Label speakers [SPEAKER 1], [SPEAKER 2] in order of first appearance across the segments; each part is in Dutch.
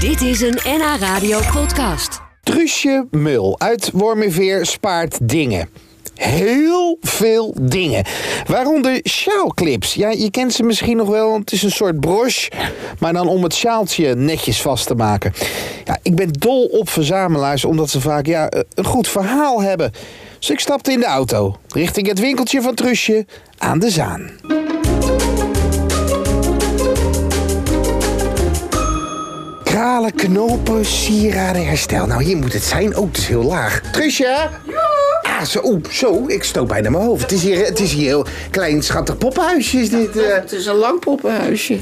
[SPEAKER 1] Dit is een NH Radio podcast.
[SPEAKER 2] Truusje Mul uit Wormerveer spaart dingen. Heel veel dingen. Waaronder sjaalclips. Ja, je kent ze misschien nog wel. Het is een soort broche. Maar dan om het sjaaltje netjes vast te maken. Ja, ik ben dol op verzamelaars. Omdat ze vaak ja, eh, een goed verhaal hebben. Dus ik stapte in de auto. Richting het winkeltje van Trusje aan de Zaan. Kralen, knopen, sieraden, herstel. Nou, hier moet het zijn. Oh, het is heel laag. Trusje? Ah, zo, oeh, zo. Ik stoot bijna mijn hoofd. Het is hier, het is hier heel klein, schattig poppenhuisje. Is dit, eh.
[SPEAKER 3] Het is een lang poppenhuisje.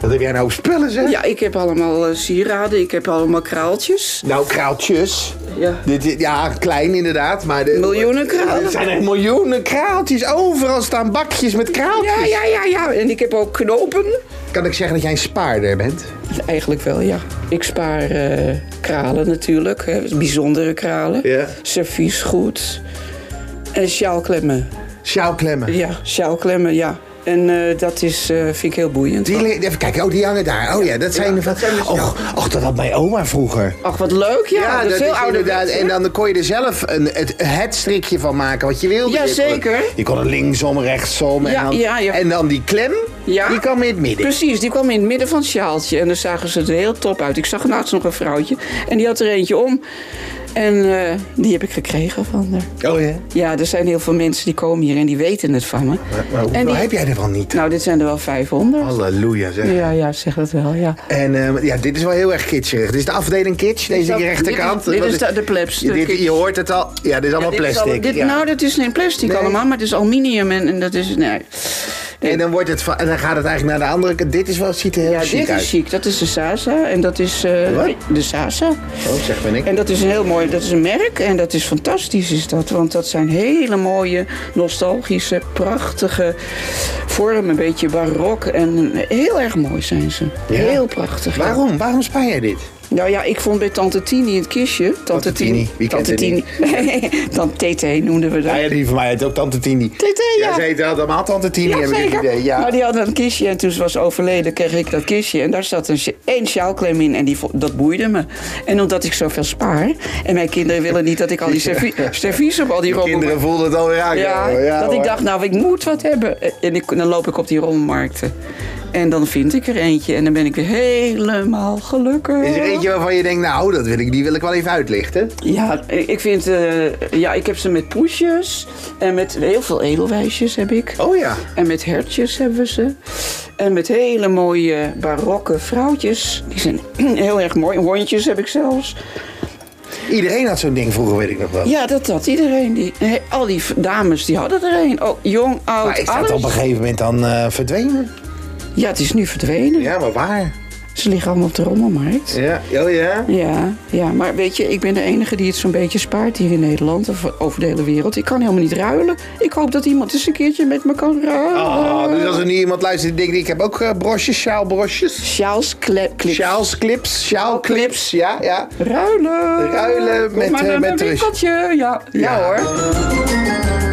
[SPEAKER 2] Wat heb jij nou voor spullen, zeg?
[SPEAKER 3] Ja, ik heb allemaal eh, sieraden, ik heb allemaal kraaltjes.
[SPEAKER 2] Nou, kraaltjes.
[SPEAKER 3] Ja.
[SPEAKER 2] Dit, is- ja, klein inderdaad, maar... De,
[SPEAKER 3] Miljoenen kralen.
[SPEAKER 2] Er zijn echt miljoenen kraaltjes. Overal staan bakjes met kraaltjes.
[SPEAKER 3] Ja, ja, ja, ja. En ik heb ook knopen.
[SPEAKER 2] Kan ik zeggen dat jij een spaarder bent?
[SPEAKER 3] Eigenlijk wel, ja. Ik spaar eh, kralen natuurlijk, hè. bijzondere kralen.
[SPEAKER 2] Ja.
[SPEAKER 3] Serviesgoed. En sjaalklemmen.
[SPEAKER 2] Sjouwklemmen.
[SPEAKER 3] Ja, sjaalklemmen, ja. En eh, dat is, eh, vind ik heel boeiend.
[SPEAKER 2] Die, li- even kijken, oh, die hangen daar. Oh ja, dat zijn er van. Och, och, dat had mijn oma vroeger.
[SPEAKER 3] Ach, wat leuk, ja.
[SPEAKER 2] Ja,
[SPEAKER 3] dat is
[SPEAKER 2] dat
[SPEAKER 3] veel
[SPEAKER 2] is
[SPEAKER 3] ouder.
[SPEAKER 2] inderdaad. En dan kon je er zelf een, het, het strikje van maken wat je wilde.
[SPEAKER 3] Ja,
[SPEAKER 2] Je kon-
[SPEAKER 3] zeker.
[SPEAKER 2] Je kon er linksom, rechtsom. En,
[SPEAKER 3] Ja,
[SPEAKER 2] dan,
[SPEAKER 3] ja, ja.
[SPEAKER 2] en dan die klem,
[SPEAKER 3] Ja.
[SPEAKER 2] die kwam in het midden.
[SPEAKER 3] Precies, die kwam in het midden van het sjaaltje. En dan zagen ze er heel top uit. Ik zag laatst nog een vrouwtje. En die had er eentje om. En eh, die heb ik gekregen van haar.
[SPEAKER 2] Oh ja.
[SPEAKER 3] Ja, er zijn heel veel mensen die komen hier en die weten het van me.
[SPEAKER 2] Maar hoeveel
[SPEAKER 3] En die-
[SPEAKER 2] heb jij ervan niet?
[SPEAKER 3] Nou, dit zijn er wel 500.
[SPEAKER 2] Halleluja zeg.
[SPEAKER 3] Ja, ja, zeg dat wel, ja.
[SPEAKER 2] En ehm, ja, dit is wel heel erg kitscherig. Dit is de afdeling kitsch, deze
[SPEAKER 3] dat-
[SPEAKER 2] rechterkant.
[SPEAKER 3] dit is- dit is
[SPEAKER 2] Dat was-
[SPEAKER 3] de- de plebs, de
[SPEAKER 2] dit,
[SPEAKER 3] kitsch.
[SPEAKER 2] je hoort het al. Ja, dit is allemaal
[SPEAKER 3] Dit is
[SPEAKER 2] plastic.
[SPEAKER 3] al- dit-
[SPEAKER 2] ja.
[SPEAKER 3] Nou, dat is geen plastic
[SPEAKER 2] Nee.
[SPEAKER 3] allemaal, maar het is aluminium en, en dat is... Nee.
[SPEAKER 2] en, dan wordt het, va- en dan gaat het eigenlijk naar de andere kant. Dit is wel, ziet er heel
[SPEAKER 3] Ja,
[SPEAKER 2] chic
[SPEAKER 3] dit
[SPEAKER 2] uit.
[SPEAKER 3] is chic. Dat is de Sasa en dat is... eh,
[SPEAKER 2] Wat?
[SPEAKER 3] de Sasa.
[SPEAKER 2] Oh, zeg maar ik.
[SPEAKER 3] En dat is een heel mooi, dat is een merk en dat is fantastisch is dat. Want dat zijn hele mooie, nostalgische, prachtige vormen. Een beetje barok en heel erg mooi zijn ze. Heel prachtig. ja.
[SPEAKER 2] Waarom? Waarom spaar jij dit?
[SPEAKER 3] Nou ja, ik vond bij Tante Tini het kistje. Tante,
[SPEAKER 2] Tante Tini, wie kent
[SPEAKER 3] Tante
[SPEAKER 2] het
[SPEAKER 3] Tini. Tante TT noemden we dat.
[SPEAKER 2] Ja, ja, die van mij heet ook Tante Tini.
[SPEAKER 3] TT, ja.
[SPEAKER 2] ze heet allemaal Tante Tini, heb ik het idee. Ja.
[SPEAKER 3] Maar die had een kistje en toen ze was overleden kreeg ik dat kistje. En daar zat een, sj- één sjaalklem in en die, vo- dat boeide me. En omdat ik zoveel spaar en mijn kinderen willen niet dat ik al die servi- servies op al die rommel...
[SPEAKER 2] Kinderen voelden het alweer aan.
[SPEAKER 3] Ja,
[SPEAKER 2] hoor.
[SPEAKER 3] dat ik
[SPEAKER 2] hoor.
[SPEAKER 3] dacht, nou ik moet wat hebben. En ik, dan loop ik op die rommelmarkten. En dan vind ik er eentje en dan ben ik weer helemaal gelukkig.
[SPEAKER 2] Is er eentje waarvan je denkt, nou, dat wil ik, die wil ik wel even uitlichten?
[SPEAKER 3] Ja, ik vind, eh, ja, ik heb ze met poesjes en met heel veel edelwijsjes heb ik.
[SPEAKER 2] Oh ja.
[SPEAKER 3] En met hertjes hebben we ze. En met hele mooie barokke vrouwtjes. Die zijn heel erg mooi. Hondjes heb ik zelfs.
[SPEAKER 2] Iedereen had zo'n ding vroeger, weet ik nog wel.
[SPEAKER 3] Ja, dat had iedereen. Die, he- al die v- dames die hadden er een. Oh, jong, oud,
[SPEAKER 2] maar is dat
[SPEAKER 3] alles.
[SPEAKER 2] op een gegeven moment dan eh, verdwenen?
[SPEAKER 3] Ja, het is nu verdwenen.
[SPEAKER 2] Ja, maar waar?
[SPEAKER 3] Ze liggen allemaal op de rommelmarkt.
[SPEAKER 2] Ja, oh ja.
[SPEAKER 3] Ja, ja, maar weet je, ik ben de enige die het zo'n beetje spaart hier in Nederland of over de hele wereld. Ik kan helemaal niet ruilen. Ik hoop dat iemand eens een keertje met me kan ruilen.
[SPEAKER 2] Oh, dus als er nu iemand luistert die denkt, ik heb ook eh, brosjes, sjaalbrosjes.
[SPEAKER 3] Sjaals, kle- clips.
[SPEAKER 2] Sjaals, clips, sjaalclips, ja, ja.
[SPEAKER 3] Ruilen.
[SPEAKER 2] Ruilen
[SPEAKER 3] Kom
[SPEAKER 2] met,
[SPEAKER 3] maar
[SPEAKER 2] eh,
[SPEAKER 3] naar
[SPEAKER 2] met
[SPEAKER 3] mijn
[SPEAKER 2] Trus.
[SPEAKER 3] winkeltje. Ja. Ja,
[SPEAKER 2] Ja.
[SPEAKER 3] hoor.